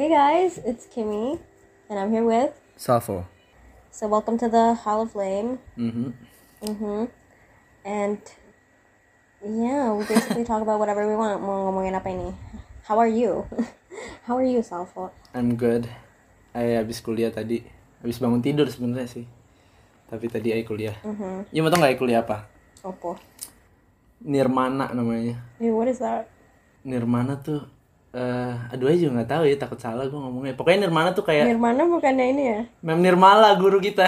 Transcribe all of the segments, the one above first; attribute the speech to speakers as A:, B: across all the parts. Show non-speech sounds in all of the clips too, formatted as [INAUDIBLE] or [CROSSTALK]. A: Hey guys, it's Kimmy, and I'm here with.
B: Sappho.
A: So welcome to the Hall of Flame.
B: Mm-hmm.
A: Mhm. And yeah, we basically talk about whatever we want. Mau ngomongin apa ini? How are you? [LAUGHS] How are you, Salvo?
B: I'm good. I habis kuliah tadi. Habis bangun tidur sebenarnya sih. Tapi tadi I kuliah.
A: Mhm.
B: Ya mau tau nggak I kuliah apa?
A: Opo.
B: Nirmana namanya.
A: Hey, what is that?
B: Nirmana tuh eh aduh aja nggak tahu ya takut salah gue ngomongnya pokoknya nirmana tuh kayak
A: Nirmana bukannya ini ya?
B: mem nirmala guru kita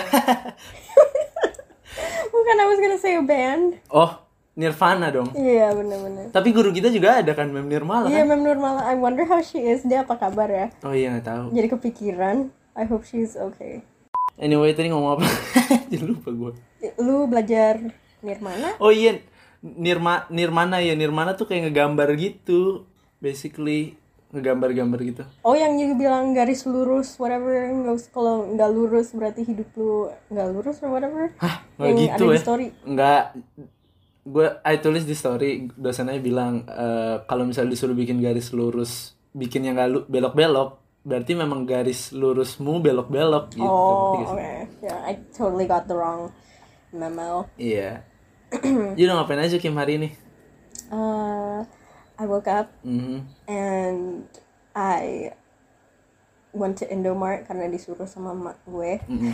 B: [LAUGHS]
A: Bukan I was gonna say a band.
B: oh nirvana dong
A: Iya, bener-bener.
B: tapi guru kita juga ada kan mem nirmala
A: Iya, Mem
B: kan?
A: Nurmala. I wonder how she is. Dia apa kabar ya?
B: oh iya nggak tahu
A: Jadi kepikiran. I hope she's okay.
B: anyway tadi ngomong apa [LAUGHS] jadi lupa gue
A: Lu belajar Nirmana?
B: Oh iya, Nirma Nirmana ya Nirmana tuh kayak ngegambar gitu, basically ngegambar-gambar gitu.
A: Oh yang you bilang garis lurus whatever nggak us- kalau nggak lurus berarti hidup lu nggak lurus or whatever
B: Hah, nggak
A: yang
B: gitu
A: Iya, ada
B: ya?
A: di story
B: Enggak, gue I tulis di story dosennya bilang eh, kalau misalnya disuruh bikin garis lurus, bikin yang nggak lu- belok-belok, berarti memang garis lurusmu belok-belok gitu.
A: oh
B: Ngerti
A: oke
B: nggak sih?
A: yeah I totally got the wrong memo
B: Iya. [CLEARS THROAT] You udah ngapain aja Kim hari ini?
A: uh, I woke up
B: Mhm.
A: and I went to Indomart karena disuruh sama mak gue
B: mm-hmm.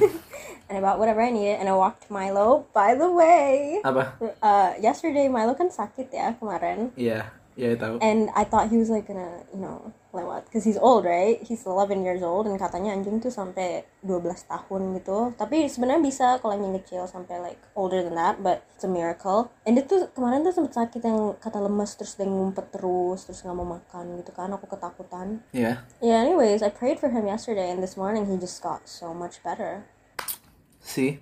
A: and I bought whatever I needed and I walked Milo by the way
B: Apa?
A: uh, yesterday Milo kan sakit ya kemarin
B: Iya, iya tahu.
A: And I thought he was like gonna, you know, lewat. Because he's old, right? He's 11 years old. And katanya anjing tuh sampai 12 tahun gitu. Tapi sebenarnya bisa kalau anjing kecil sampai like older than that. But it's a miracle. And dia tuh kemarin tuh sempet sakit yang kata lemes. Terus dia ngumpet terus. Terus nggak mau makan gitu kan. Aku ketakutan.
B: Iya.
A: Yeah, anyways, I prayed for him yesterday. And this morning he just got so much better.
B: See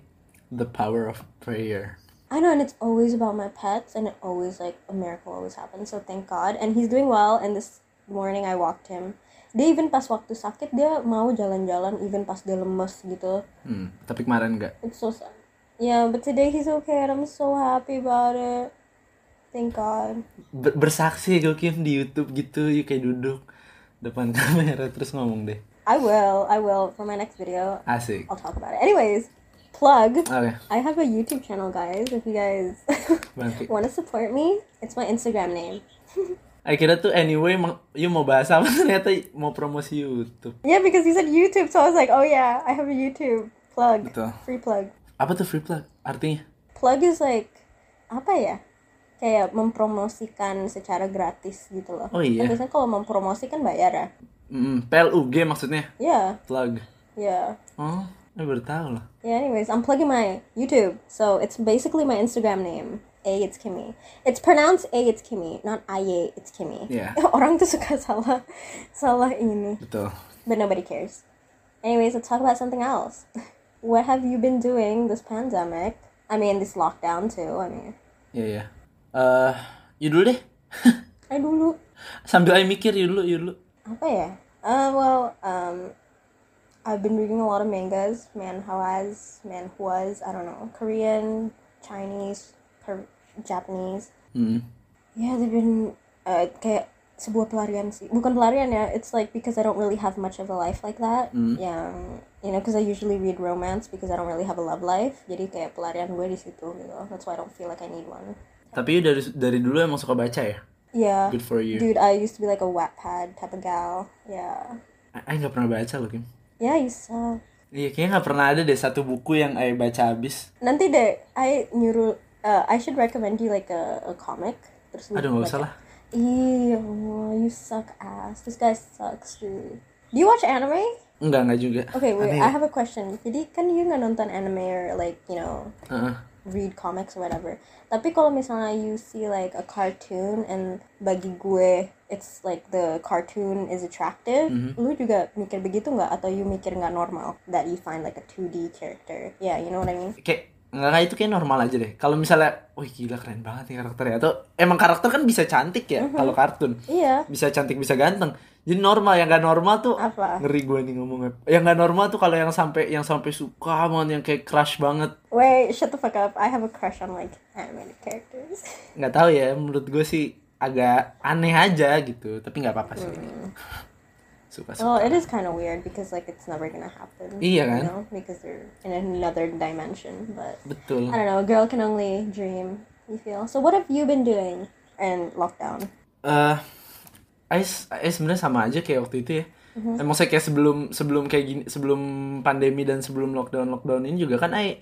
B: the power of prayer.
A: I know, and it's always about my pets, and it always like a miracle always happens. So thank God, and he's doing well. And this morning I walked him. Dia even pas waktu sakit dia mau jalan-jalan, even pas dia lemes gitu.
B: Hmm, tapi kemarin enggak.
A: It's so sad. Yeah, but today he's okay, and I'm so happy about it. Thank God.
B: Ber- bersaksi gue Kim di YouTube gitu, you kayak duduk depan [LAUGHS] kamera terus ngomong deh.
A: I will. I will for my next video.
B: Asik.
A: I'll talk about it. Anyways, plug.
B: Oke,
A: I have a YouTube channel, guys. If you guys [LAUGHS]
B: nanti.
A: want to support me, it's my Instagram name.
B: Akhirnya tuh anyway, mau- you mau bahas apa [LAUGHS] ternyata mau promosi YouTube.
A: Yeah, because you said YouTube, so I was like, oh yeah, I have a YouTube plug.
B: Betul.
A: Free plug.
B: Apa tuh free plug? Artinya?
A: Plug is like apa ya? Kayak mempromosikan secara gratis gitu loh.
B: Oh, iya.
A: Kan biasanya kalau mempromosikan bayar ya.
B: Mm, PLUG maksudnya.
A: Yeah,
B: Plug.
A: yeah.
B: Oh, eh baru tahu lah.
A: Yeah, anyways, I'm plugging my YouTube. So it's basically my Instagram name. A it's Kimmy. It's pronounced A it's Kimmy, not IA it's Kimmy.
B: Yeah.
A: [LAUGHS] Orang tuh suka salah salah ini.
B: Betul.
A: But nobody cares. Anyways, let's talk about something else. [LAUGHS] What have you been doing this pandemic? I mean, this lockdown too. I mean,
B: Iya, iya. Eh, you dulu deh. [LAUGHS]
A: I dulu
B: Sambil I mikir, you dulu, you dulu.
A: apa ya? Uh, well, um, I've been reading a lot of mangas, manhwas, manhwas. I don't know, Korean, Chinese, Kor- Japanese.
B: Hmm.
A: Yeah, they've been uh, kayak sebuah pelarian sih. Bukan pelarian ya, it's like because I don't really have much of a life like that.
B: Hmm.
A: Yang, you know, because I usually read romance because I don't really have a love life. Jadi kayak pelarian gue di situ gitu. That's why I don't feel like I need one.
B: Tapi you dari dari dulu emang suka baca ya?
A: Yeah.
B: Good for you.
A: Dude, I used to be like a Wattpad type of gal. Yeah.
B: I, I nggak pernah baca loh Kim.
A: Yeah, you suck.
B: Iya, kayaknya nggak pernah ada deh satu buku yang I baca habis.
A: Nanti deh, I nyuruh, uh, I should recommend you like a, a comic. Terus lu
B: Aduh, nggak usah
A: baca.
B: lah.
A: Ew, you suck ass. This guy sucks, dude. Do you watch anime?
B: Enggak, enggak juga.
A: Okay, wait,
B: Aneh
A: I
B: ya?
A: have a question. Jadi kan you nggak nonton anime or like, you know,
B: Heeh.
A: read comics or whatever. Tapi kalau misalnya you see like a cartoon and bagi gue it's like the cartoon is attractive, lu juga mikir begitu nggak atau you mikir nggak normal that you find like a 2D character? Yeah, you know what I mean?
B: Kayak enggak enggak, itu kayak normal aja deh. Kalau misalnya, wih gila keren
A: Mm-hmm.
B: banget nih karakternya atau emang karakter kan bisa cantik ya kalau kartun.
A: Iya.
B: Bisa cantik, bisa ganteng. Jadi normal yang gak normal tuh
A: Apa?
B: ngeri gue nih ngomongnya. Yang gak normal tuh kalau yang sampai yang sampai suka banget yang kayak crush banget.
A: Wait, shut the fuck up. I have a crush on like anime characters.
B: nggak tahu ya menurut gue sih agak aneh aja gitu tapi nggak apa-apa sih
A: Mm.
B: suka suka
A: Well, it is kind of weird because like it's never gonna happen.
B: Iya kan?
A: You know, because they're in another dimension. But
B: betul
A: I don't know. A girl can only dream. You feel. So what have you been doing in lockdown?
B: eh eh s- eh, sebenarnya sama aja kayak waktu itu ya emang saya kayak sebelum sebelum kayak gini sebelum pandemi dan sebelum lockdown lockdown ini juga kan Ai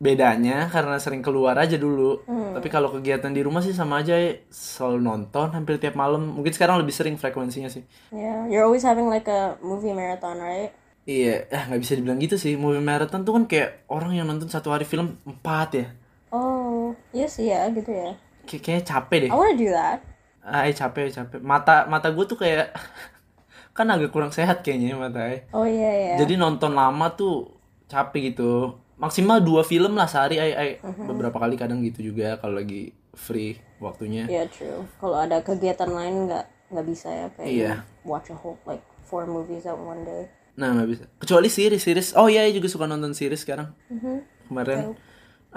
B: bedanya karena sering keluar aja dulu tapi kalau kegiatan di rumah sih sama aja Ai. selalu nonton hampir tiap malam mungkin sekarang lebih sering frekuensinya sih
A: Yeah, you're always having like a movie marathon, right?
B: Iya, eh nggak bisa dibilang gitu sih. Movie marathon tuh kan kayak orang yang nonton satu hari film empat ya.
A: Oh, yes, yeah, good yeah.
B: Kay- kayaknya capek deh.
A: I want to do that.
B: Ah, eh, capek, capek. Mata mata gue tuh kayak [LAUGHS] kan agak kurang sehat kayaknya mata. eh.
A: Oh yeah, yeah.
B: Jadi nonton lama tuh capek gitu. Maksimal dua film lah sehari. Ai, ai. Beberapa kali kadang gitu juga kalau lagi free waktunya.
A: Yeah, true. Kalau ada kegiatan lain nggak nggak bisa ya kayak
B: Iya.
A: watch a whole like four movies at one day.
B: Nah nggak bisa. Kecuali series, series. Oh iya, ai juga suka nonton series sekarang. Kemarin,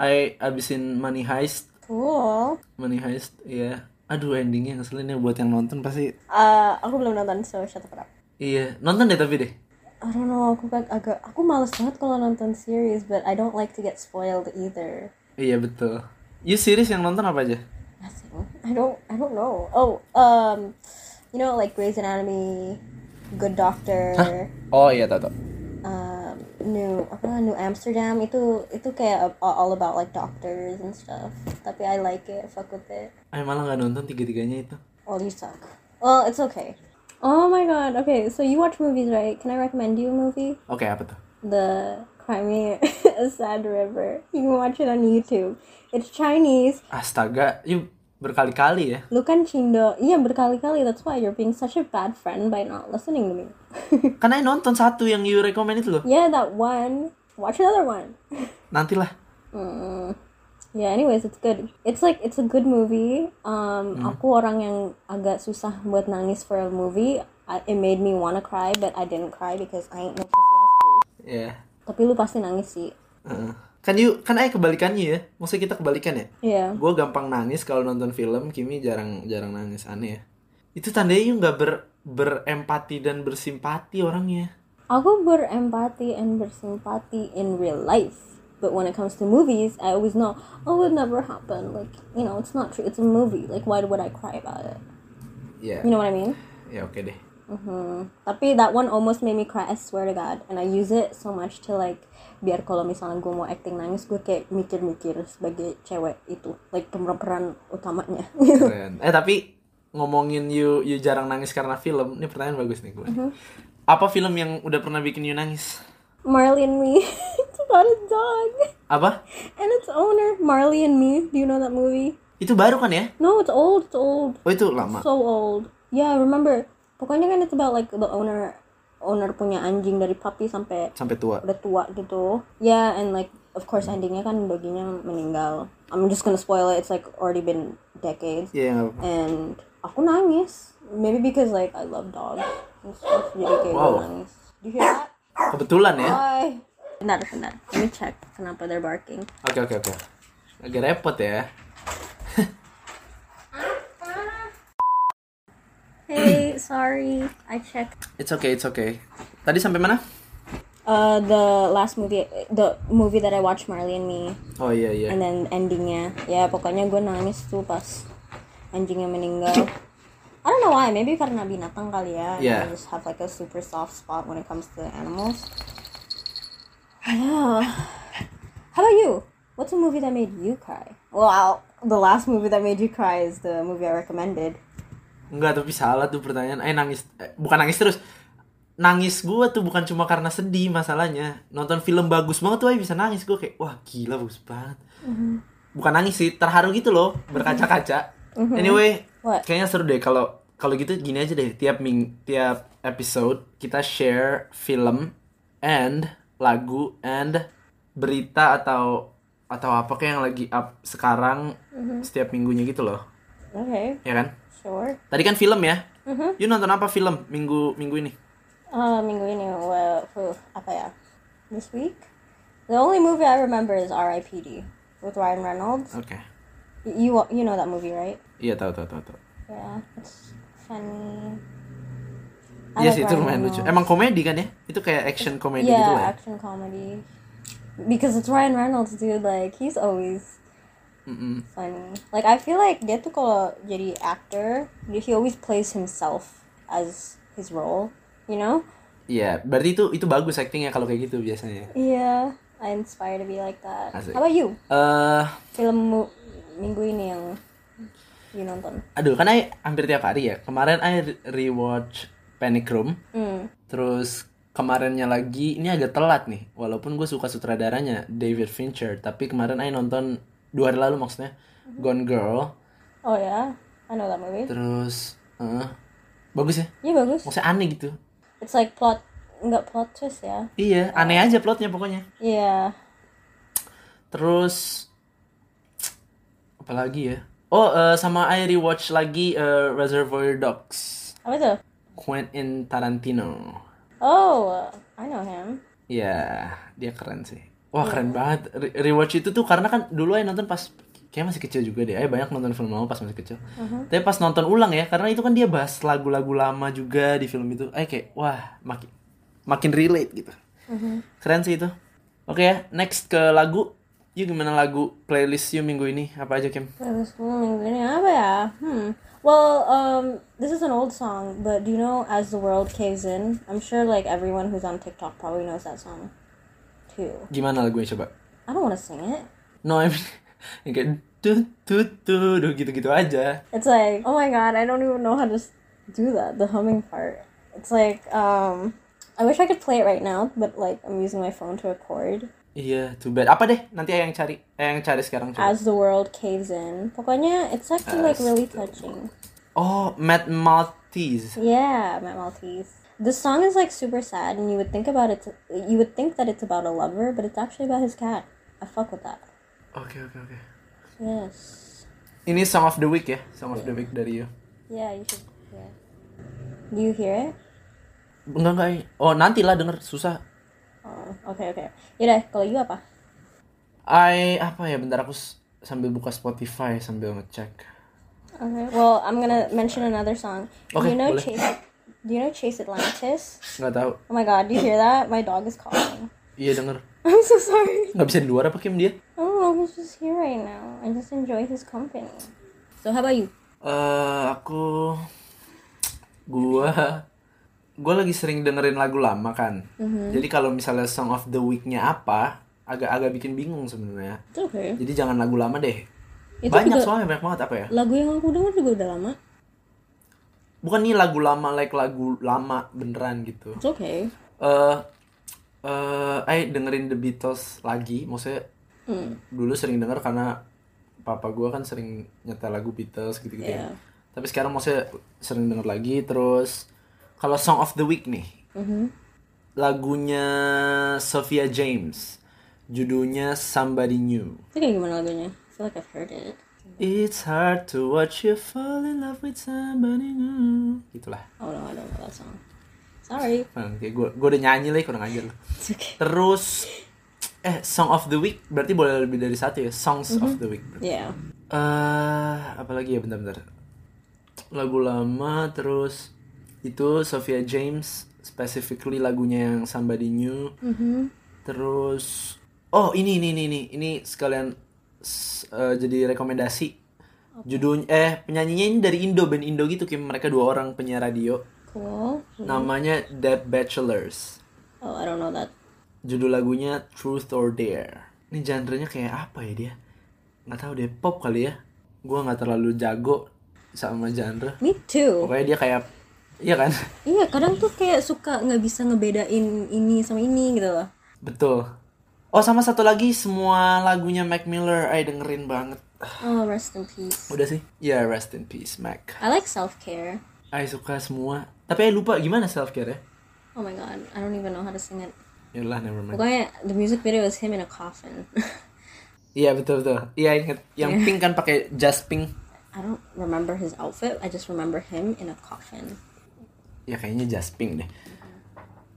B: I abisin Money Heist.
A: Cool.
B: Money Heist, iya. Aduh endingnya ngeselin ya buat yang nonton pasti.
A: Uh, aku belum nonton so shut the fuck up.
B: Iya, nonton deh tapi deh.
A: I don't know, aku kan agak aku males banget kalau nonton series, but I don't like to get spoiled either.
B: Iya betul. You series yang nonton apa aja?
A: Nothing. I don't I don't know. Oh, um you know like Grey's Anatomy, Good Doctor,
B: Oh iya tato.
A: um New apa New Amsterdam itu itu kayak a- all about like doctors and stuff. Tapi I like it, fuck with it.
B: Ay malah nggak nonton tiga-tiganya itu.
A: Well, you suck. Well, it's okay. Oh my god. Okay, so you watch movies, right? Can I recommend you a movie?
B: Oke apa tuh?
A: The Crimea [LAUGHS] a Sad River. You can watch it on YouTube. It's Chinese.
B: Astaga, you berkali-kali ya.
A: Lu kan Cindo. Iya, berkali-kali. That's why you're being such a bad friend by not listening to me. [LAUGHS]
B: Karena Kan nonton satu yang you recommend itu loh.
A: yeah, that one. Watch another one. [LAUGHS]
B: Nantilah.
A: Mm. Yeah, anyways, it's good. It's like it's a good movie. Um, aku orang yang agak susah buat nangis for a movie. I, it made me wanna cry, but I didn't cry because I ain't no pussy ass bitch.
B: Iya.
A: Tapi lu pasti nangis sih.
B: Heeh. Kan you, kan ay kebalikannya ya. Maksudnya kita kebalikan ya.
A: Iya.
B: Gue gampang nangis kalau nonton film. Kimi jarang jarang nangis aneh ya. Itu tandanya you nggak ber berempati dan bersimpati orangnya.
A: Aku berempati and bersimpati in real life. But when it comes to movies, I always know, oh, it never happened. Like, you know, it's not true. It's a movie. Like, why would I cry about it?
B: Iya.
A: You know what I mean?
B: Ya oke deh.
A: Hmm. Tapi that one almost made me cry, I swear to God. And I use it so much to like biar kalau misalnya gue mau acting nangis gue kayak mikir-mikir sebagai cewek itu like pemeran utamanya [LAUGHS]
B: Keren. [LAUGHS] Eh tapi ngomongin you you jarang nangis karena film. Ini pertanyaan bagus nih gue. Apa film yang udah pernah bikin you nangis?
A: Marley and Me [LAUGHS] it's about a dog
B: Apa?
A: and its owner Marley and Me do you know that movie
B: Itu baru kan ya?
A: no it's old it's old
B: Oh itu lama.
A: so old yeah I remember pokoknya kan it's about like the owner owner punya anjing dari puppy sampai
B: Sampai tua.
A: udah tua gitu yeah and like of course endingnya kan doginya meninggal I'm just gonna spoil it it's like already been decades
B: Iya nggak apa-apa.
A: and aku nangis maybe because like I love dogs and stuff jadi kayak gue
B: Wow.
A: nangis do you hear that
B: Kebetulan ya.
A: why benar benar let me check kenapa they're barking
B: Oke oke oke. Agak repot ya.
A: hey sorry I checked
B: It's okay it's okay. Tadi sampai mana?
A: uh the last movie the movie that I watched Marley and Me
B: Oh iya iya.
A: and then endingnya ya pokoknya gue nangis tuh pas anjingnya meninggal I don't know why maybe karena binatang kali ya and I
B: Yeah.
A: just have like a super soft spot when it comes to animals yeah how about you what's a movie that made you cry well I'll- the last movie that made you cry is the movie I recommended
B: Enggak tapi salah tuh pertanyaan. Eh nangis eh, bukan nangis terus. Nangis gue tuh bukan cuma karena sedih masalahnya. Nonton film bagus banget tuh ay bisa nangis gue kayak wah gila bagus banget. Bukan nangis sih, terharu gitu loh, berkaca-kaca. Anyway,
A: What?
B: kayaknya seru deh kalau kalau gitu gini aja deh tiap ming tiap episode kita share film and lagu and berita atau atau apa kayak yang lagi up sekarang setiap minggunya gitu loh,
A: okay
B: ya kan?
A: sure
B: Tadi kan film ya. You nonton apa film minggu minggu ini?
A: Oh, minggu ini, well, fuh, uh, apa ya? This week, the only movie I remember is R.I.P.D. with Ryan Reynolds.
B: Oke.
A: Y- You you know that movie, right?
B: Iya tahu tahu tahu tahu.
A: Yeah, it's funny.
B: Iya
A: like
B: sih itu
A: Ryan
B: lumayan lucu.
A: Reynolds.
B: Emang komedi kan ya? Itu kayak action komedi
A: yeah,
B: gitu lah. Ya?
A: action comedy. Because it's Ryan Reynolds, dude. Like he's always
B: Mm-mm.
A: funny. Like I feel like dia tuh kalau jadi actor, he always plays himself as his role. You know?
B: Iya, berarti itu itu bagus actingnya kalau kayak gitu biasanya.
A: Yeah, I inspire to be like that.
B: Asik.
A: How about you?
B: Eh,
A: Film mu- minggu ini yang you nonton?
B: aduh kan I hampir tiap hari ya. Kemarin I rewatch Panic Room.
A: Hmm.
B: Terus kemarinnya lagi ini agak telat nih. Walaupun gue suka sutradaranya David Fincher, tapi kemarin I nonton dua hari lalu maksudnya Gone Girl.
A: Oh yeah, I know that movie.
B: Terus eh, bagus ya.
A: Yeah, bagus.
B: Maksudnya aneh gitu.
A: It's like plot nggak plot twist ya?
B: Iya, aneh aja plotnya pokoknya.
A: Yeah.
B: Terus apalagi ya? Oh, eh, sama I rewatch lagi eh, Reservoir Dogs
A: Apa itu?
B: Quentin Tarantino.
A: Oh, I know him.
B: Ya, dia keren sih. Wah, keren banget. Re- rewatch itu tuh karena kan dulu I nonton pas kayak masih kecil juga deh. I banyak nonton film lama pas masih kecil.
A: Mm-hmm,
B: Tapi pas nonton ulang ya, karena itu kan dia bahas lagu-lagu lama juga di film itu. I kayak wah, makin makin relate gitu.
A: mm-hmm.
B: Keren sih itu. Oke ya, next ke lagu. You gimana lagu playlist you minggu ini? Apa aja, Kim?
A: Playlist gue minggu ini apa ya? Hmm. Well, um, this is an old song, but do you know "As the World Caves In"? I'm sure like everyone who's on TikTok probably knows that song, too.
B: Gimana lagunya coba?
A: I don't want to sing it.
B: No, I mean, [LAUGHS] yang kayak tut tut tut gitu-gitu aja.
A: It's like, oh my god, I don't even know how to s- do that. The humming part. It's like, um, I wish I could play it right now, but like I'm using my phone to record.
B: Iya, too bad. Apa deh? Nanti yang cari, eh, yang cari sekarang coba.
A: As the world caves in. Pokoknya, it's actually like
B: As
A: really touching.
B: Oh, Matt Maltese.
A: Yeah, Matt Maltese. The song is like super sad, and you would think about it. You would think that it's about a lover, but it's actually about his cat. I fuck with that.
B: Oke, oke, oke.
A: Yes.
B: Ini Song of the Week ya? Song of the Week dari you.
A: Yeah, you should. Yeah. Do you hear it?
B: Enggak, enggak. eh. Oh, nantilah denger. Susah.
A: Oh, okay, okay. Yaudah, kalau you apa?
B: I, apa ya? Bentar aku s- sambil buka Spotify sambil ngecek.
A: Okay. Well, I'm gonna mention another song. do
B: Okay,
A: you know
B: boleh.
A: Chase? Do you know Chase Atlantis?
B: Nggak tahu.
A: Oh my God! Do you hear that? My dog is calling. [LAUGHS]
B: Iya, denger.
A: I'm so sorry.
B: Nggak bisa di luar apa, Kim, dia?
A: I don't know. He's just here right now. I just enjoy his company. So how about you?
B: Eh, aku... Gua... Gua lagi sering dengerin lagu lama kan.
A: Hmm.
B: Jadi kalau misalnya Song of the Week-nya apa, agak-agak bikin bingung sebenarnya.
A: It's okay.
B: Jadi jangan lagu lama deh.
A: Itu
B: banyak
A: juga-
B: soalnya, banyak banget apa ya?
A: Lagu yang aku denger juga udah lama.
B: bukan nih lagu lama like lagu lama beneran gitu
A: It's okay.
B: eh eh, I dengerin The Beatles lagi maksudnya
A: Hmm,
B: dulu sering denger karena papa gua kan sering nyetel lagu Beatles gitu-gitu
A: Iya.
B: ya. tapi sekarang maksudnya sering denger lagi terus kalau Song of the Week nih
A: Mm-hmm.
B: lagunya Sophia James judulnya Somebody New
A: Itu kayak gimana lagunya? I feel like I've heard it.
B: It's hard to watch you fall in love with somebody new gitulah
A: Oh no, I don't know that song. Sorry.
B: Nah, kayak gue gue udah nyanyi lah kurang ajar lu.
A: It's okay.
B: Terus eh song of the week berarti boleh lebih dari satu ya songs of the week. Eh
A: Yeah.
B: apalagi ya bentar-bentar. Lagu lama terus itu Sophia James specifically lagunya yang Somebody New.
A: Mm-hmm.
B: Terus oh ini ini ini ini ini sekalian s- eh, jadi rekomendasi judulnya eh penyanyinya ini dari Indo band Indo gitu Kim mereka dua orang penyiar radio
A: Cool.
B: namanya Dead Bachelors
A: Oh, I don't know that.
B: judul lagunya Truth or Dare. Ini genre-nya kayak apa ya dia? Nggak tahu deh, pop kali ya. Gua nggak terlalu jago sama genre.
A: Me too.
B: Pokoknya dia kayak iya kan? [LAUGHS]
A: Iya, kadang tuh kayak suka nggak bisa ngebedain ini sama ini gitu loh.
B: Betul. Oh, sama satu lagi semua lagunya Mac Miller I dengerin banget.
A: Oh, rest in peace.
B: Udah sih? Ya, rest in peace Mac.
A: I like self care.
B: I suka semua. Tapi I lupa gimana self care ya?
A: Oh my god, I don't even know how to sing it.
B: Yalah, never mind.
A: Pokoknya the music video is him in a coffin. [LAUGHS]
B: Iya, betul betul. Iya, inget. Yang pink kan pakai jas pink.
A: I don't remember his outfit. I just remember him in a coffin.
B: ya kayaknya just pink deh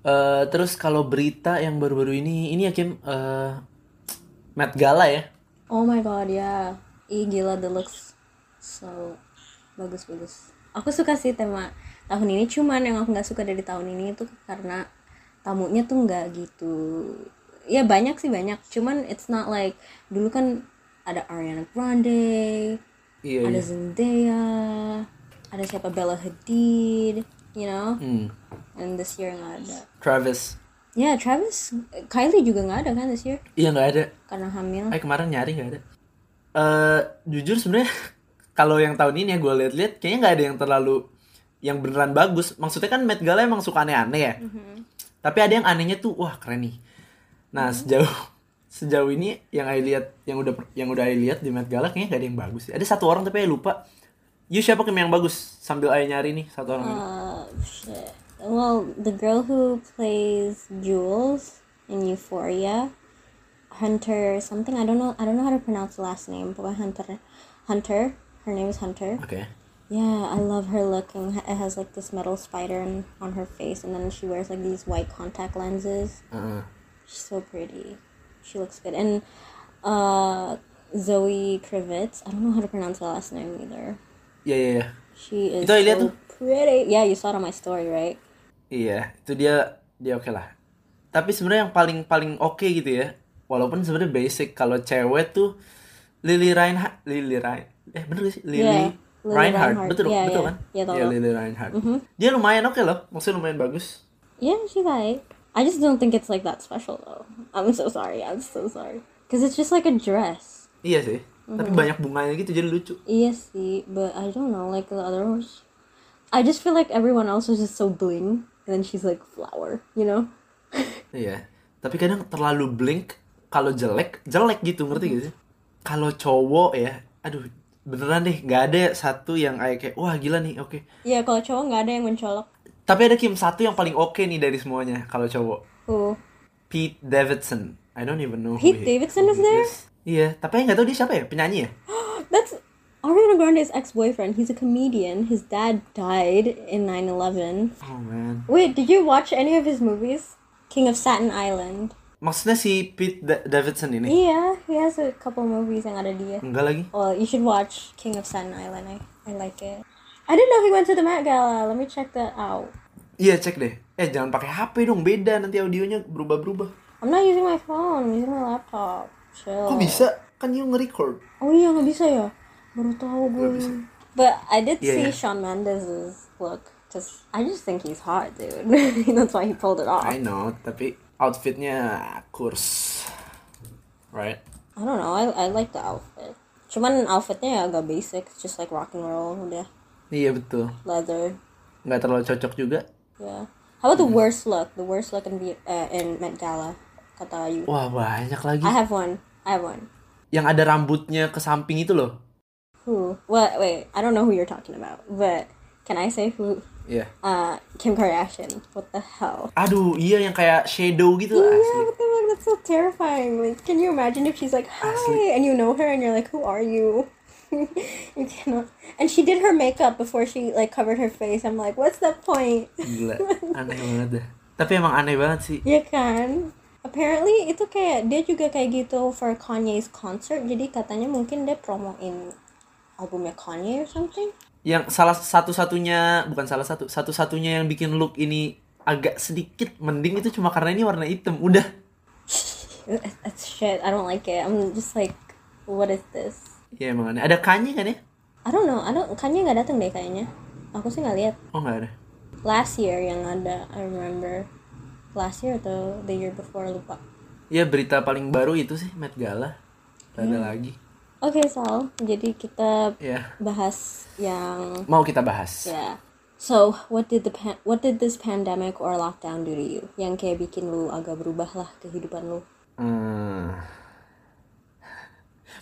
B: Eh, terus kalau berita yang baru-baru ini ini ya Kim eh, Met Gala ya
A: Oh my god, ya. Ih gila the looks so bagus bagus. Aku suka sih tema tahun ini. Cuman yang aku nggak suka dari tahun ini itu karena tamunya tuh nggak gitu. Ya banyak sih banyak. Cuman it's not like dulu kan ada Ariana Grande,
B: iya
A: ada
B: iya
A: Zendaya, ada siapa Bella Hadid, you know.
B: Hmm.
A: And this year nggak ada.
B: Travis
A: Ya Travis, Kylie juga nggak ada kan this year
B: iya nggak ada
A: karena hamil.
B: eh kemarin nyari nggak ada Eh jujur sebenarnya [LAUGHS] kalau yang tahun ini ya gue lihat-lihat kayaknya nggak ada yang terlalu yang beneran bagus maksudnya kan Met Gala emang suka aneh-aneh ya tapi ada yang anehnya tuh wah keren nih nah sejauh [LAUGHS] sejauh ini yang I lihat yang udah yang udah I lihat di Met Gala kayaknya nggak ada yang bagus ada satu orang tapi I lupa you siapa Kim yang bagus sambil I nyari nih satu orang ini.
A: Uh, shit. Well, the girl who plays Jules in Euphoria, Hunter something. I don't know. I don't know how to pronounce the last name. But Hunter, Hunter. Her name is Hunter.
B: oke
A: Yeah, I love her look. And ha- it has like this metal spider in, on her face, and then she wears like these white contact lenses.
B: Heeh.
A: She's so pretty. She looks good. And uh, Zoe Kravitz. I don't know how to pronounce her last name either.
B: Iya, iya iya
A: She is
B: Itu I lihat
A: so
B: tuh.
A: pretty. Yeah, you saw it on my story, right?
B: Iya, itu dia dia oke lah. Tapi sebenarnya yang paling paling oke gitu ya. Walaupun sebenarnya basic kalau cewek tuh Lily Reinhardt, Lily Rein, eh bener gak sih Lily
A: Iya, Lily
B: Reinhardt,
A: Reinhardt.
B: betul
A: Iya,
B: betul
A: iya.
B: kan?
A: Iya, tau, Mm-hmm. tau.
B: Lily Reinhardt. Dia lumayan oke loh, maksudnya lumayan bagus.
A: Yeah, she's like. I just don't think it's like that special though. I'm so sorry. I'm so sorry. Cause it's just like a dress.
B: Iya sih.
A: Mm-hmm.
B: Tapi banyak bunganya gitu jadi lucu.
A: Yes, but I don't know. Like the other ones, I just feel like everyone else is just so bling, and then she's like flower. You know? [LAUGHS]
B: Iya. Tapi kadang terlalu blink kalau jelek, jelek gitu ngerti
A: Mm-hmm.
B: gak sih? Kalau cowok ya, aduh beneran deh nggak ada satu yang kayak kayak, wah gila nih oke.
A: Yeah, kalau cowok nggak ada yang mencolok.
B: Tapi ada Kim satu yang paling oke nih dari semuanya kalau cowok.
A: Oh, [GASPS]
B: Pete Davidson. I don't even know
A: Pete Davidson is there?
B: Iya, tapi nggak tahu dia siapa ya, penyanyi ya?
A: that's Ariana Grande's ex-boyfriend. He's a comedian. His dad died in 9/11.
B: Oh man.
A: Wait, did you watch any of his movies? King of Staten Island.
B: Maksudnya si Pete Da- Davidson ini?
A: Yeah, he has a couple movies yang ada dia.
B: Enggak lagi.
A: Well, you should watch King of Staten Island. I, I like it. I didn't know he went to the Met Gala. Let me check that out.
B: Iya, cek deh. Eh, jangan pakai HP dong, beda nanti audionya berubah-berubah.
A: I'm not using my phone. I'm using my laptop. Chill.
B: Kok bisa? Kan you nge-record.
A: Oh iya, nggak bisa ya? Baru tahu gue. But I did
B: Yeah,
A: see
B: yeah.
A: Shawn Mendes' look. Cause I just think he's hot, dude. [LAUGHS] That's why he pulled it off.
B: I know, tapi outfitnya kurs. Right?
A: I don't know. I, I like the outfit. Cuman outfitnya agak basic. Just like rock and roll. Udah.
B: Iya, betul.
A: Leather.
B: Nggak terlalu cocok juga.
A: Yeah. How about the worst look? The worst look in, V- uh, in Met Gala. Kata you.
B: Wah, banyak lagi.
A: I have one. I have one.
B: Yang ada rambutnya ke samping itu loh.
A: Who? What? Wait. I don't know who you're talking about. But can I say who?
B: Iya.
A: Uh, Kim Kardashian. What the hell?
B: Aduh, iya yang kayak shadow gitu asli.
A: Yeah, what the fuck? That's so terrifying. Like, can you imagine if she's like, "Hi,"
B: Asli.
A: and you know her, and you're like, "Who are you?" [LAUGHS] you cannot. And she did her makeup before she like covered her face. I'm like, what's the point?
B: Gila, aneh banget dah. Tapi emang aneh banget sih.
A: Ya kan? Apparently itu kayak dia juga kayak gitu for Kanye's concert. Jadi katanya mungkin dia promoin albumnya Kanye or something. [LAUGHS]
B: Yang salah satu-satunya, bukan salah satu, satu-satunya yang bikin look ini agak sedikit mending itu cuma karena ini warna hitam. Udah.
A: That's that's shit. I don't like it. I'm just like, what is this?
B: Ya emang aneh. Ada Kanye kan ya?
A: I don't know. I don't Kanye nggak datang deh kayaknya. Aku sih nggak lihat.
B: Oh nggak ada.
A: Last year yang ada, I remember. Last year atau the year before lupa.
B: Ya berita paling baru itu sih Met Gala. Nggak ada lagi.
A: Oke Sal, jadi kita
B: Ya.
A: bahas yang
B: Mau kita bahas.
A: Yeah. So, what did the pan- what did this pandemic or lockdown do to you? Yang kayak bikin lu agak berubah lah kehidupan lu.
B: Hmm.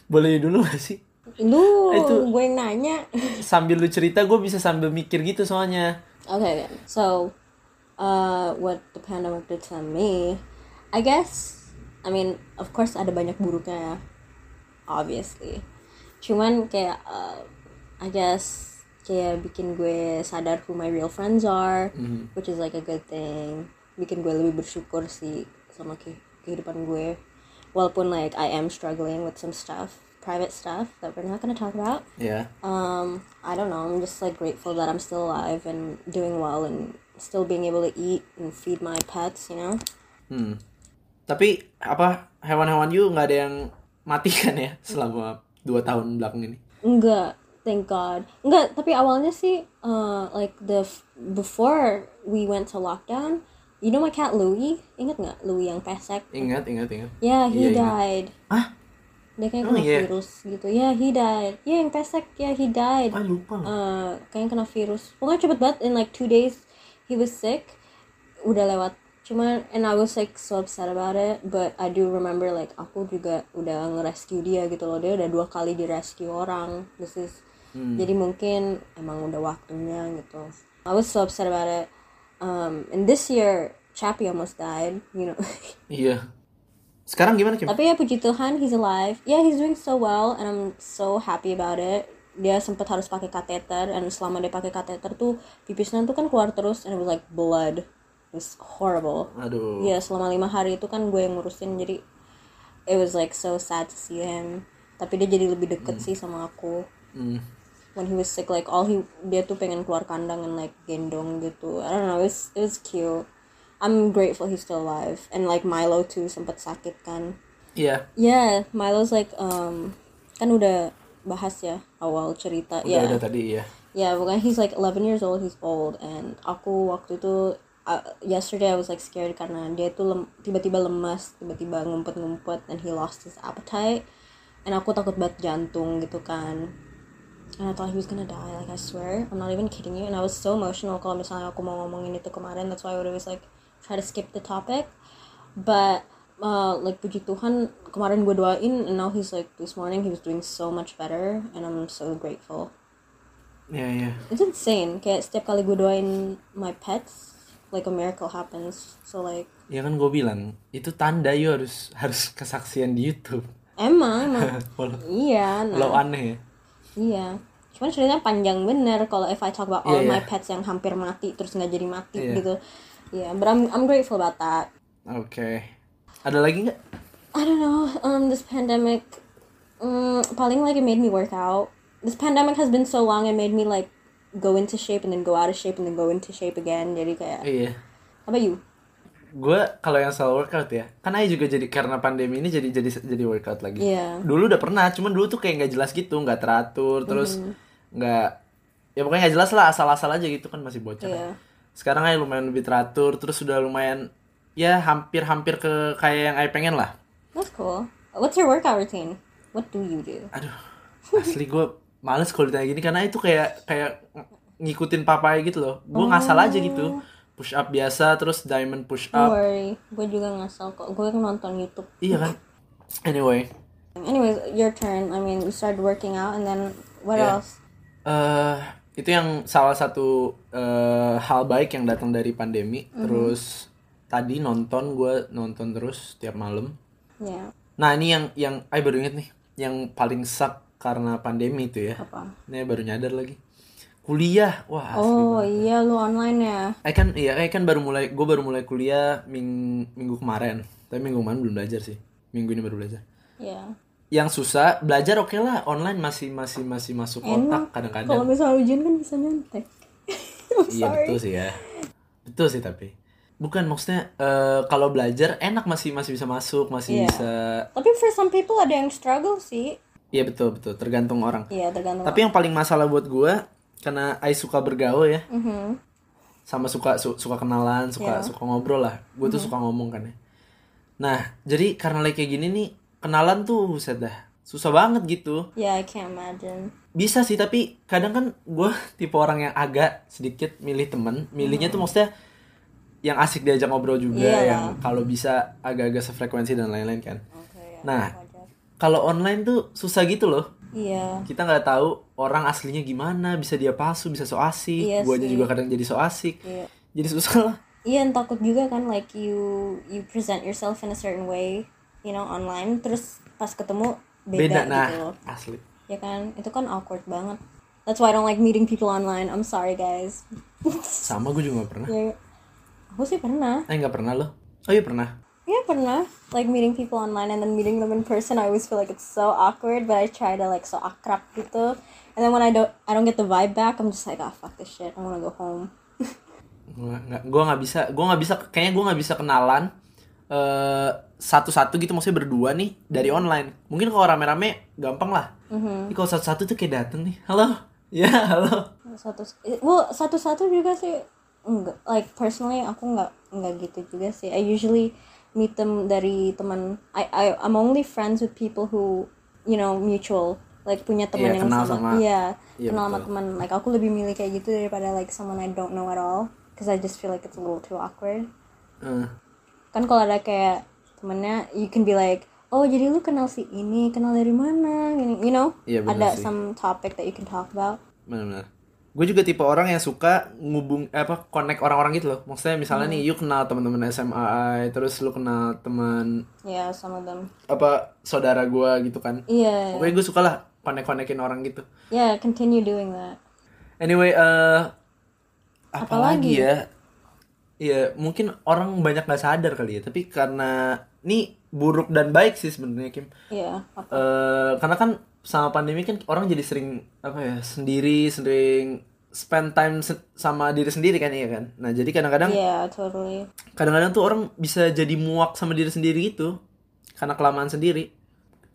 B: Boleh dulu gak sih?
A: Lu,
B: Itu-
A: gue yang nanya. [LAUGHS]
B: Sambil lu cerita gue bisa sambil mikir gitu soalnya.
A: okay, then. So, uh, what the pandemic did to me, I guess, I mean, of course ada banyak buruknya ya, obviously. Cuman kayak uh, I guess kayak bikin gue sadar who my real friends are
B: Mhm.
A: which is like a good thing bikin gue lebih bersyukur sih sama ke- kehidupan gue walaupun like I am struggling with some stuff private stuff that we're not gonna talk about
B: Yeah.
A: um I don't know I'm just like grateful that I'm still alive and doing well and still being able to eat and feed my pets you know
B: Hmm. Tapi apa hewan-hewan you nggak ada yang mati [LAUGHS] kan ya selama dua tahun belakang ini?
A: Enggak, thank God. Enggak, tapi awalnya sih, uh, like the f- before we went to lockdown, you know my cat Louis, inget nggak Louis yang pesek?
B: Ingat, ingat, ingat.
A: Yeah, he
B: Iya, ingat.
A: died.
B: Ah,
A: Dia kayaknya
B: Oh,
A: kena
B: iya.
A: virus gitu. Yeah, he died. Yeah, yang pesek, yeah he died.
B: ah lupa. loh.
A: Uh, kayaknya kena virus. Pokoknya cepet banget. In like two days, he was sick. Udah lewat. Cuman, and I was like so upset about it. But I do remember like aku juga udah ngerescue dia gitu loh. Dia udah dua kali direscue orang. This is jadi mungkin emang udah waktunya gitu. I was so upset about it. Um, and this year, Chappie almost died. You know. [LAUGHS]
B: Iya. Sekarang gimana Kim?
A: Tapi ya puji Tuhan, he's alive. Yeah, he's doing so well and I'm so happy about it. Dia sempat harus pakai kateter and selama dia pakai kateter tuh pipisnya tuh kan keluar terus and it was like blood. It was horrible.
B: Aduh.
A: Ya, selama lima hari itu kan gue yang ngurusin jadi it was like so sad to see him. Tapi dia jadi lebih deket sih sama aku.
B: Hmm.
A: When he was sick like all he dia tuh pengen keluar kandang and like gendong gitu. I don't know, it was, it was cute. I'm grateful he's still alive and like Milo too sempat sakit kan.
B: Iya.
A: Yeah, Milo's like um kan udah bahas ya awal cerita
B: Udah
A: ya.
B: udah tadi ya.
A: Yeah, bukan he's like 11 years old, he's old and aku waktu itu uh, yesterday I was like scared karena dia itu lem- tiba-tiba lemas, tiba-tiba ngumpet-ngumpet and he lost his appetite. And aku takut banget jantung gitu kan. And I thought he was gonna die, like I swear, I'm not even kidding you. And I was so emotional kalau misalnya aku mau ngomongin itu kemarin, that's why I would always like try to skip the topic. But uh, like puji Tuhan kemarin gue doain and now he's like this morning he was doing so much better and I'm so grateful.
B: Iya, iya.
A: It's insane. Kayak setiap kali gue doain my pets, like a miracle happens. So like,
B: Ya kan gue bilang, itu tanda you harus harus kesaksian di [LAUGHS] YouTube.
A: emang, emang.
B: Walau
A: iya,
B: walau
A: nah,
B: aneh ya.
A: iya. Cuman ceritanya panjang bener kalau if I talk about all
B: Iya,
A: my
B: iya.
A: pets yang hampir mati terus nggak jadi mati
B: Iya.
A: gitu. Yeah, but I'm I'm grateful about that.
B: Oke. Ada lagi nggak?
A: I don't know. Um, this pandemic, um, paling like it made me work out. This pandemic has been so long. It made me like go into shape and then go out of shape and then go into shape again. Jadi kayak,
B: Iya.
A: how about you?
B: Gue kalau yang soal workout ya, kan Ayu juga jadi karena pandemi ini jadi jadi jadi workout lagi.
A: Iya.
B: Dulu udah pernah, cuman dulu tuh kayak nggak jelas gitu, nggak teratur, terus
A: Mm-hmm.
B: nggak ya pokoknya nggak jelas lah, asal-asal aja gitu kan masih bocah.
A: Iya.
B: Sekarang Ayu lumayan lebih teratur, terus udah lumayan ya hampir-hampir ke kayak yang Ayu pengen lah.
A: That's cool. What's your workout routine? What do you do? [LAUGHS]
B: Aduh, asli gue males kalau ditanya gini karena itu kayak kayak ng- ngikutin papai gitu loh. Gue ngasal aja
A: Oh.
B: gitu. Push up biasa, terus diamond push
A: Don't
B: up.
A: worry, gue juga ngasal kok. Gue nonton YouTube.
B: Iya kan? Anyway,
A: Anyways, your turn. I mean, you started working out, and then what
B: Yeah.
A: else?
B: eh itu yang salah satu eh, hal baik yang datang dari pandemi.
A: Mhm.
B: Terus tadi nonton gue nonton terus tiap malam.
A: Yeah.
B: Nah ini yang yang, ay baru inget nih, yang paling sak karena pandemi itu ya.
A: Apa?
B: Ini baru nyadar lagi. Kuliah, wah asli
A: Oh iya, lu online ya?
B: I kan iya I kan baru mulai gue baru mulai kuliah ming- minggu kemarin tapi minggu kemarin belum belajar sih minggu ini baru belajar
A: Yeah.
B: yang susah belajar oke lah online masih masih masih masuk
A: Enak.
B: otak kadang-kadang
A: Kalau misalnya ujian kan bisa nyontek. [LAUGHS] I'm
B: iya
A: sorry.
B: betul sih ya betul sih tapi bukan maksudnya eh, kalau belajar enak masih masih bisa masuk masih
A: Iya.
B: bisa
A: Tapi for some people ada yang struggle sih.
B: iya betul betul tergantung orang
A: Iya, tergantung.
B: tapi yang paling masalah buat gue karena I suka bergaul ya
A: Mhm.
B: sama suka su- suka kenalan
A: Iya.
B: suka suka ngobrol lah gue tuh suka ngomong kan ya nah jadi karena lagi kayak gini nih kenalan tuh buset dah susah banget gitu
A: Yeah, I can't imagine.
B: bisa sih tapi kadang kan gue [LAUGHS] tipe orang yang agak sedikit milih temen milihnya
A: Hmm.
B: tuh maksudnya yang asik diajak ngobrol juga
A: Iyalah.
B: yang kalau bisa agak-agak sefrekuensi dan lain-lain kan
A: Okay, ya,
B: Nah.
A: wajar.
B: kalau online tuh susah gitu loh
A: Iya.
B: kita nggak tahu orang aslinya gimana bisa dia palsu bisa so asik
A: Iya
B: gue aja
A: sih.
B: juga kadang jadi so asik
A: Iya.
B: jadi susah lah
A: Iya, and takut juga kan like you you present yourself in a certain way, you know, online terus pas ketemu beda,
B: beda, nah
A: gitu loh.
B: asli
A: Ya kan? Itu kan awkward banget. That's why I don't like meeting people online. I'm sorry
B: [LAUGHS]
A: guys.
B: Sama gue juga gak pernah.
A: Ya, aku sih pernah.
B: Eh nggak pernah loh. Oh iya pernah.
A: Yeah, pernah. Like meeting people online and then meeting them in person, I always feel like it's so awkward. But I try to like so akrab gitu. And then when I don't, I don't get the vibe back. I'm just like, ah, fuck this shit. I wanna go home.
B: Gua nggak gua nggak bisa gua nggak bisa kayaknya gua nggak bisa kenalan eh satu-satu gitu maksudnya berdua nih dari online mungkin kalau rame-rame gampang lah Ini kalau satu-satu tuh kayak dateng nih halo ya halo
A: satu eh, well satu satu juga sih enggak like personally aku nggak nggak gitu juga sih I usually meet them dari teman I I I'm only friends with people who you know mutual like punya teman
B: Iya,
A: yang
B: kenal
A: sama
B: sama-
A: iya
B: iya,
A: kenal sama
B: betul.
A: teman like aku lebih milih kayak gitu daripada like someone I don't know at all because I just feel like it's a little too awkward
B: Eh,
A: kan kalau ada kayak temennya you can be like oh jadi lu kenal si ini kenal dari mana Gini, you know
B: Iya, bener
A: ada
B: sih.
A: some topic that you can talk about
B: benar-benar gue juga tipe orang yang suka ngubung eh, apa connect orang-orang gitu loh maksudnya misalnya nih you kenal teman-teman SMA terus lu kenal teman
A: yeah some of them Iya.
B: apa saudara gua gitu kan
A: yeah
B: pokoknya gue suka lah connect-connectin orang gitu
A: yeah continue doing that
B: Anyway, eh apa
A: Apalagi?
B: lagi ya? Ya mungkin orang banyak nggak sadar kali ya, tapi karena ini buruk dan baik sih sebenarnya Kim.
A: yeah
B: Eh, karena kan sama pandemi kan orang jadi sering apa ya sendiri, sering spend time se- sama diri sendiri kan iya kan. Nah jadi kadang-kadang
A: Yeah, totally.
B: kadang-kadang tuh orang bisa jadi muak sama diri sendiri gitu karena kelamaan sendiri.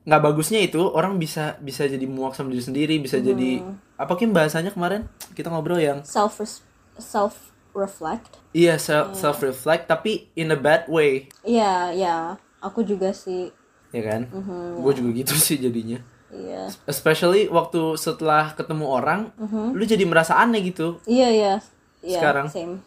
B: Nggak bagusnya itu orang bisa bisa jadi muak sama diri sendiri, bisa jadi apa Kim bahasanya kemarin kita ngobrol yang
A: Self self reflect.
B: Iya self self reflect tapi in a bad way,
A: Iya, iya. Aku juga sih.
B: ya kan? Gue juga gitu sih jadinya.
A: Iya.
B: Especially waktu setelah ketemu orang, lu jadi merasa aneh gitu.
A: Iya, iya. Iya,
B: Sekarang?
A: same.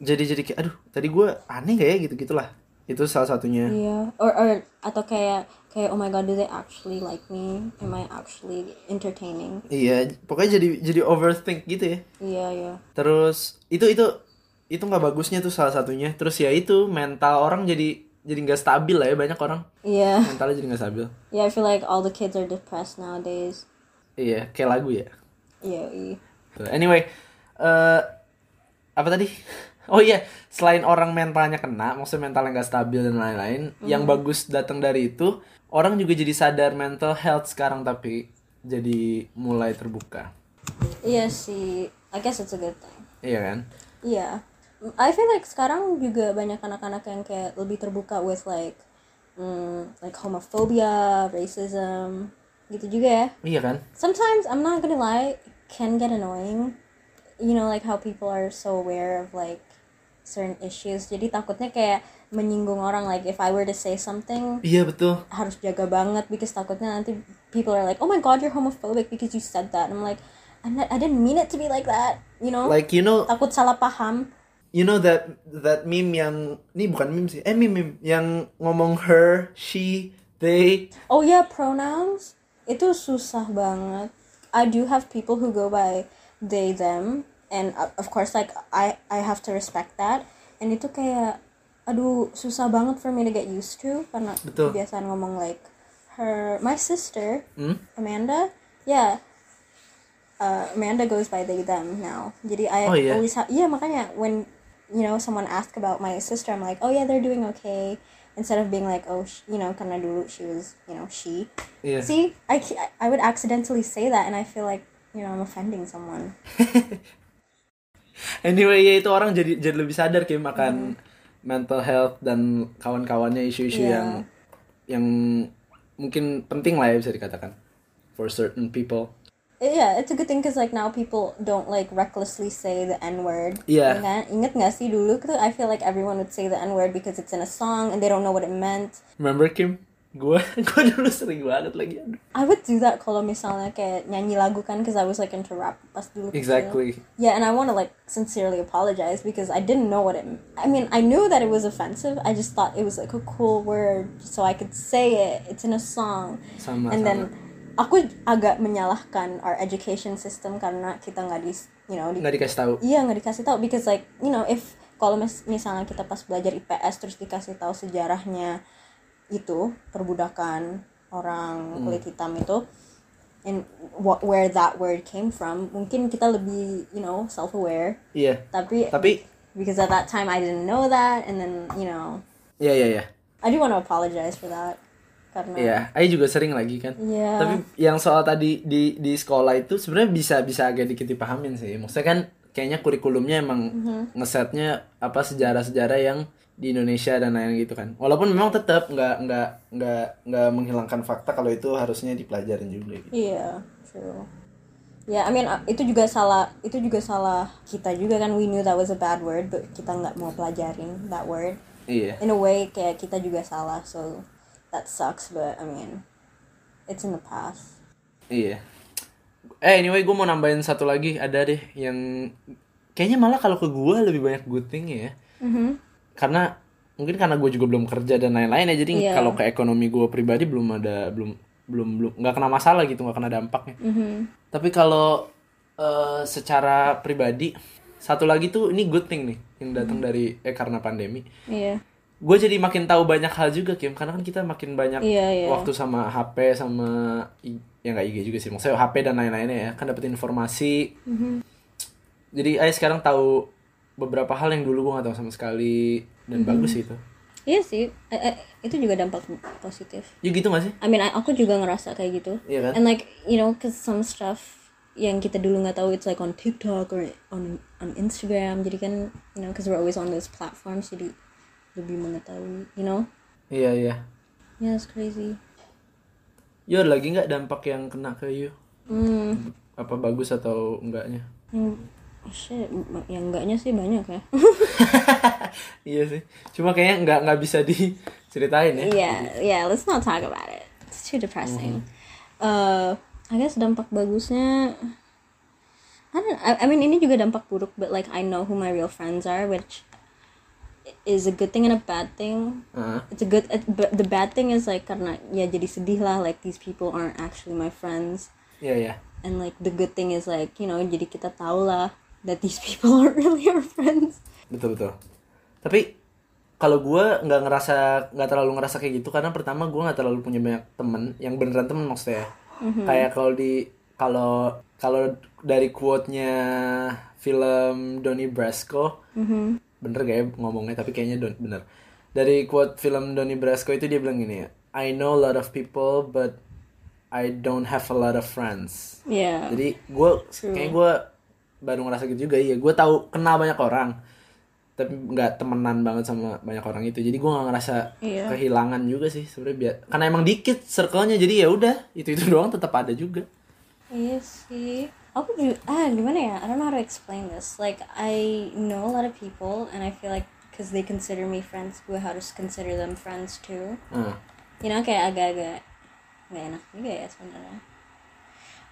B: Jadi jadi kayak aduh tadi gue aneh gak ya gitu gitulah. Itu salah satunya.
A: Iya, or or atau kayak kayak oh my god, do they actually like me? Am I actually entertaining?
B: Iya pokoknya jadi jadi overthink gitu ya.
A: Iya, iya.
B: Terus itu itu itu nggak bagusnya tuh salah satunya. Terus ya itu mental orang jadi jadi nggak stabil lah ya banyak orang
A: Iya.
B: mentalnya jadi nggak stabil.
A: Iya, I feel like all the kids are depressed nowadays.
B: Iya kayak lagu ya.
A: Iya, iya.
B: Anyway, eh apa tadi? [LAUGHS] Oh iya, selain orang mentalnya kena, maksudnya mentalnya nggak stabil dan lain-lain, yang bagus datang dari itu, orang juga jadi sadar mental health sekarang tapi jadi mulai terbuka,
A: Iya sih. I guess it's a good thing.
B: iya kan?
A: Iya. I feel like sekarang juga banyak anak-anak yang kayak lebih terbuka with like mm, like homophobia, racism, gitu juga ya.
B: Iya kan?
A: Sometimes I'm not gonna lie, it can get annoying. You know like how people are so aware of like certain issues. Jadi takutnya kayak menyinggung orang like if I were to say something
B: Iya betul.
A: harus jaga banget because takutnya nanti people are like oh my god you're homophobic because you said that. And I'm like I'm not, I didn't mean it to be like that, you know?
B: Like you know,
A: takut salah paham.
B: you know that that meme yang ini bukan meme sih, eh meme, meme yang ngomong her, she, they.
A: Oh ya, pronouns itu susah banget. I do have people who go by they them and uh, of course like I I have to respect that. And itu kayak aduh susah banget for me to get used to karena
B: Betul.
A: kebiasaan ngomong like her my sister
B: Hmm?
A: Amanda. Yeah. Uh, Amanda goes by they them now. Jadi I
B: Oh, iya?
A: always have yeah makanya when you know someone asked about my sister I'm like oh yeah they're doing okay instead of being like oh sh-, you know karena dulu she was you know she.
B: Iya.
A: See I ca- I would accidentally say that and I feel like you know I'm offending someone.
B: Anyway, ya itu orang jadi jadi lebih sadar kayak makan mental health dan kawan-kawannya isu-isu
A: Iya.
B: yang yang mungkin penting lah ya bisa dikatakan for certain people.
A: Yeah, it's a good thing because like now people don't like recklessly say the N word.
B: Yeah.
A: Kan? Ingat nggak sih dulu tuh I feel like everyone would say the N word because it's in a song and they don't know what it meant.
B: Remember Kim? [LAUGHS] Gue gue dulu sering banget lagi. aduh.
A: I would do that kalau misalnya kayak nyanyi lagu kan because I was like into rap pas dulu kecil.
B: Exactly.
A: Yeah, and I want to like sincerely apologize because I didn't know what it I mean, I knew that it was offensive. I just thought it was like a cool word so I could say it. It's in a song.
B: Sama,
A: and
B: sama.
A: then aku agak menyalahkan our education system karena kita nggak di you know di
B: Nggak dikasih tahu.
A: Iya nggak dikasih tahu because like you know if kalau mis- misalnya kita pas belajar IPS terus dikasih tahu
B: Hmm.
A: sejarahnya itu perbudakan orang kulit hitam itu and what where that word came from mungkin kita lebih you know self aware
B: Iya.
A: tapi
B: Tapi
A: because at that time I didn't know that and then you know
B: iya iya iya.
A: I do want to apologize for that karena
B: Iya, Ayu juga sering lagi kan.
A: Iya.
B: Tapi yang soal tadi di di sekolah itu sebenarnya bisa bisa agak dikit dipahamin sih. Maksudnya kan kayaknya kurikulumnya emang ngesetnya apa sejarah-sejarah yang di Indonesia dan lain gitu kan. Walaupun memang tetap nggak nggak nggak nggak menghilangkan fakta kalau itu harusnya dipelajarin juga. Gitu.
A: Iya, true. Ya, I mean uh, itu juga salah, itu juga salah kita juga kan. We knew that was a bad word, but kita nggak mau pelajarin that word.
B: Iya.
A: In a way, kayak kita juga salah, so that sucks. But I mean, it's in the past.
B: Iya. Eh anyway gue mau nambahin satu lagi ada deh yang kayaknya malah kalau ke gue lebih banyak good thing ya.
A: Mm-hmm,
B: Karena mungkin karena gue juga belum kerja dan lain-lain ya jadi
A: Iya.
B: kalau ke ekonomi gue pribadi belum ada belum belum belum nggak kena masalah gitu nggak kena dampaknya.
A: mm-hmm.
B: Tapi kalau eh, secara pribadi satu lagi tuh ini good thing nih yang
A: Hmm.
B: datang dari eh karena pandemi.
A: Iya,
B: Gue jadi makin tahu banyak hal juga Kim karena kan kita makin banyak
A: iya, iya.
B: waktu sama HP sama I- ya nggak IG juga sih maksudnya HP dan lain-lainnya ya kan dapat informasi
A: Mm-hmm.
B: jadi ayah sekarang tahu beberapa hal yang dulu gue nggak tahu sama sekali dan
A: Mm-hmm.
B: bagus sih itu
A: Iya sih, eh, eh, itu juga dampak positif.
B: ya gitu gak sih
A: I mean, I- aku juga ngerasa kayak gitu.
B: Iya kan?
A: And like, you know, cause some stuff yang kita dulu nggak tahu, it's like on TikTok or on on Instagram. Jadi kan, you know, cause we're always on those platforms, jadi lebih mengetahui, you know?
B: iya iya
A: Yeah, it's crazy.
B: yo ada lagi nggak dampak yang kena ke you
A: Hmm,
B: apa bagus atau enggaknya
A: yang- shit, m- yang enggaknya sih banyak ya. [LAUGHS]
B: iya sih cuma kayaknya nggak nggak bisa diceritain ya
A: yeah, yeah, let's not talk about it. It's too depressing. Uh, I guess dampak bagusnya I don't I, I mean ini juga dampak buruk but like I know who my real friends are which is a good thing and a bad thing.
B: Ah,
A: It's a good it- but the bad thing is like karena ya jadi sedih lah like these people aren't actually my friends
B: iya iya
A: and like the good thing is like you know jadi kita tahu lah that these [LAUGHS] people aren't really our friends.
B: betul betul tapi kalau gue nggak ngerasa nggak terlalu ngerasa kayak gitu karena pertama gue nggak terlalu punya banyak temen yang beneran temen maksudnya ya. kayak kalau di kalau kalau dari quote-nya film Donnie Brasco bener gak ya ngomongnya tapi kayaknya don- bener dari quote film Donnie Brasco itu dia bilang gini ya I know a lot of people but I don't have a lot of friends
A: Yeah.
B: jadi gue kayak gue baru ngerasa gitu juga iya gue tahu kenal banyak orang tapi nggak temenan banget sama banyak orang itu jadi gue nggak ngerasa
A: Iya.
B: kehilangan juga sih sebenarnya biar karena emang dikit circle-nya jadi ya udah itu itu [LAUGHS] doang tetap ada juga
A: Iya sih. Aku juga, ah gimana ya? I don't know how to explain this. Like I know a lot of people and I feel like because they consider me friends, gue harus consider them friends too.
B: Nah,
A: You know kayak agak-agak nggak enak juga ya sebenarnya.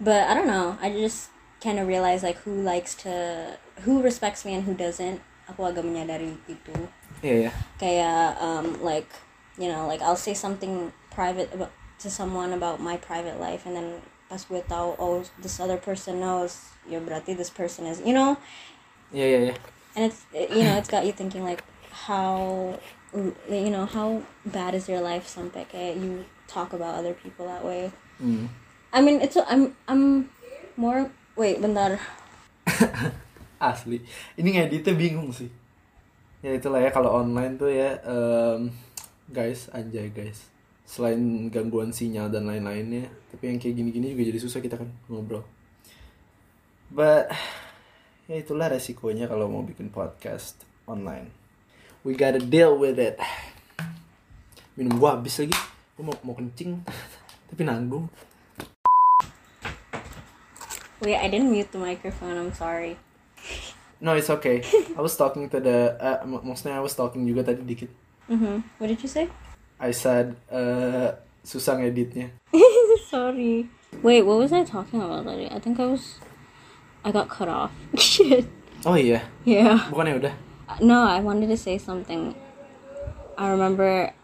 A: But I don't know. I just kind of realize like who likes to, who respects me and who doesn't. Aku agak menyadari itu
B: iya ya
A: kayak um, like you know like I'll say something private about to someone about my private life and then pas gue tahu oh this other person knows ya berarti this person is you know
B: iya iya iya
A: and it's it- you know it's got you thinking like how you know how bad is your life sampai kayak you talk about other people that way
B: Hmm.
A: I mean it's I'm I'm more wait bentar
B: asli ini ngeditnya bingung sih ya itulah ya kalau online tuh ya em, guys anjay guys selain gangguan sinyal dan lain-lainnya tapi yang kayak gini-gini juga jadi susah kita kan ngobrol but ya itulah resikonya kalau mau bikin podcast online we gotta deal with it minum gua habis lagi gua mau mau kencing [LAUGHS] tapi nanggung
A: wait I didn't mute the microphone I'm sorry
B: no it's okay I was talking to the eh, mak- maksudnya I was talking juga tadi dikit
A: mm-hmm. what did you say
B: I said eh susah ngeditnya.
A: Sorry. Wait, what was I talking about already? I think I was. I got cut off. [LAUGHS] Shit.
B: Oh iya,
A: Yeah.
B: bukannya udah.
A: No, I wanted to say something. I remember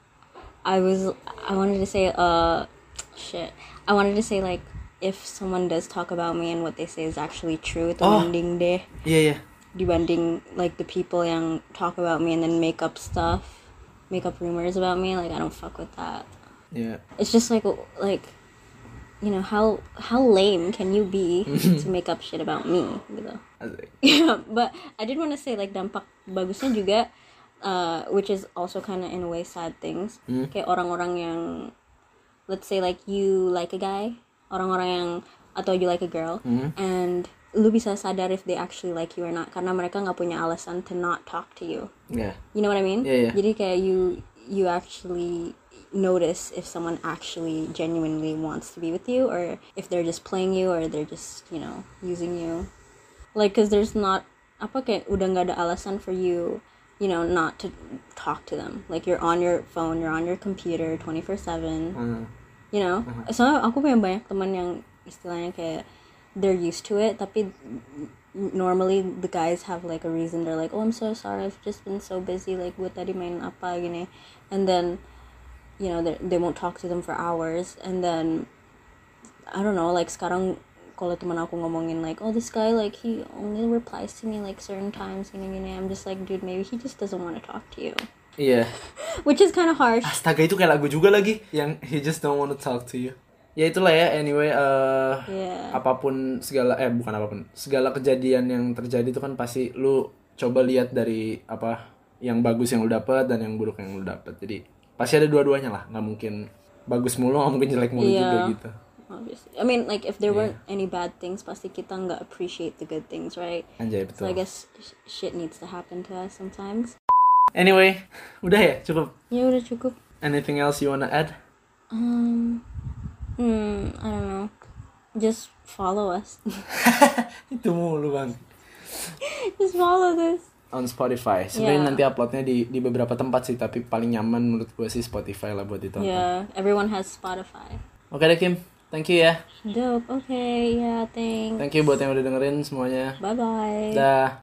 A: I was. I wanted to say, uh. Shit. I wanted to say, like, if someone does talk about me and what they say is actually true, itu
B: Oh.
A: mending deh
B: Iya iya.
A: dibanding, like, the people yang talk about me and then make up stuff, make up rumors about me. Like, I don't fuck with that.
B: Iya.
A: it's just like like you know how how lame can you be to make up shit about me gitu
B: Asik.
A: yeah, [LAUGHS] but I did want to say like dampak bagusnya juga uh, which is also kind of in a way sad things kayak orang-orang yang let's say like you like a guy orang-orang yang atau you like a girl
B: Hmm.
A: and lu bisa sadar if they actually like you or not karena mereka nggak punya alasan to not talk to you
B: Ya.
A: you know what I mean
B: Yeah, yeah.
A: jadi kayak you you actually notice if someone actually genuinely wants to be with you or if they're just playing you or they're just you know using you like because there's not apa kayak udah nggak ada alasan for you you know not to talk to them like you're on your phone you're on your computer 24 7
B: Hmm.
A: you know soalnya aku punya banyak teman yang istilahnya kayak they're used to it tapi normally the guys have like a reason they're like oh I'm so sorry I've just been so busy like gue tadi main apa gini and then you know they they won't talk to them for hours and then I don't know like sekarang kalau teman aku ngomongin like oh this guy like he only replies to me like certain times gini gini I'm just like dude maybe he just doesn't want to talk to you
B: Iya.
A: which is kind of harsh
B: [LAUGHS] Astaga itu kayak lagu juga lagi yang he just don't want to talk to you. Ya itulah ya anyway eh
A: Iya.
B: apapun segala eh bukan apapun segala kejadian yang terjadi itu kan pasti lu coba lihat dari apa yang bagus yang lu dapat dan yang buruk yang lu dapat. Jadi pasti ada dua-duanya lah nggak mungkin bagus mulu nggak mungkin jelek mulu
A: Iya.
B: juga gitu.
A: obviously. I mean, like if there weren't any bad things, pasti kita nggak appreciate the good things, right?
B: Anjay
A: So
B: betul.
A: I guess sh- shit needs to happen to us sometimes.
B: Anyway udah ya cukup.
A: Ya udah cukup.
B: Anything else you wanna add?
A: Um, hmm, I don't know. Just follow us.
B: [LAUGHS]
A: [LAUGHS]
B: itu mulu bang.
A: Just follow this.
B: on Spotify. Sebenarnya
A: Yeah.
B: nanti uploadnya di di beberapa tempat sih, tapi paling nyaman menurut gue sih Spotify lah buat ditonton.
A: Yeah, everyone has Spotify.
B: Oke deh Kim, thank you ya.
A: Dope. Okay. Yeah. Thanks.
B: Thank you buat yang udah dengerin semuanya.
A: Bye bye.
B: Dah.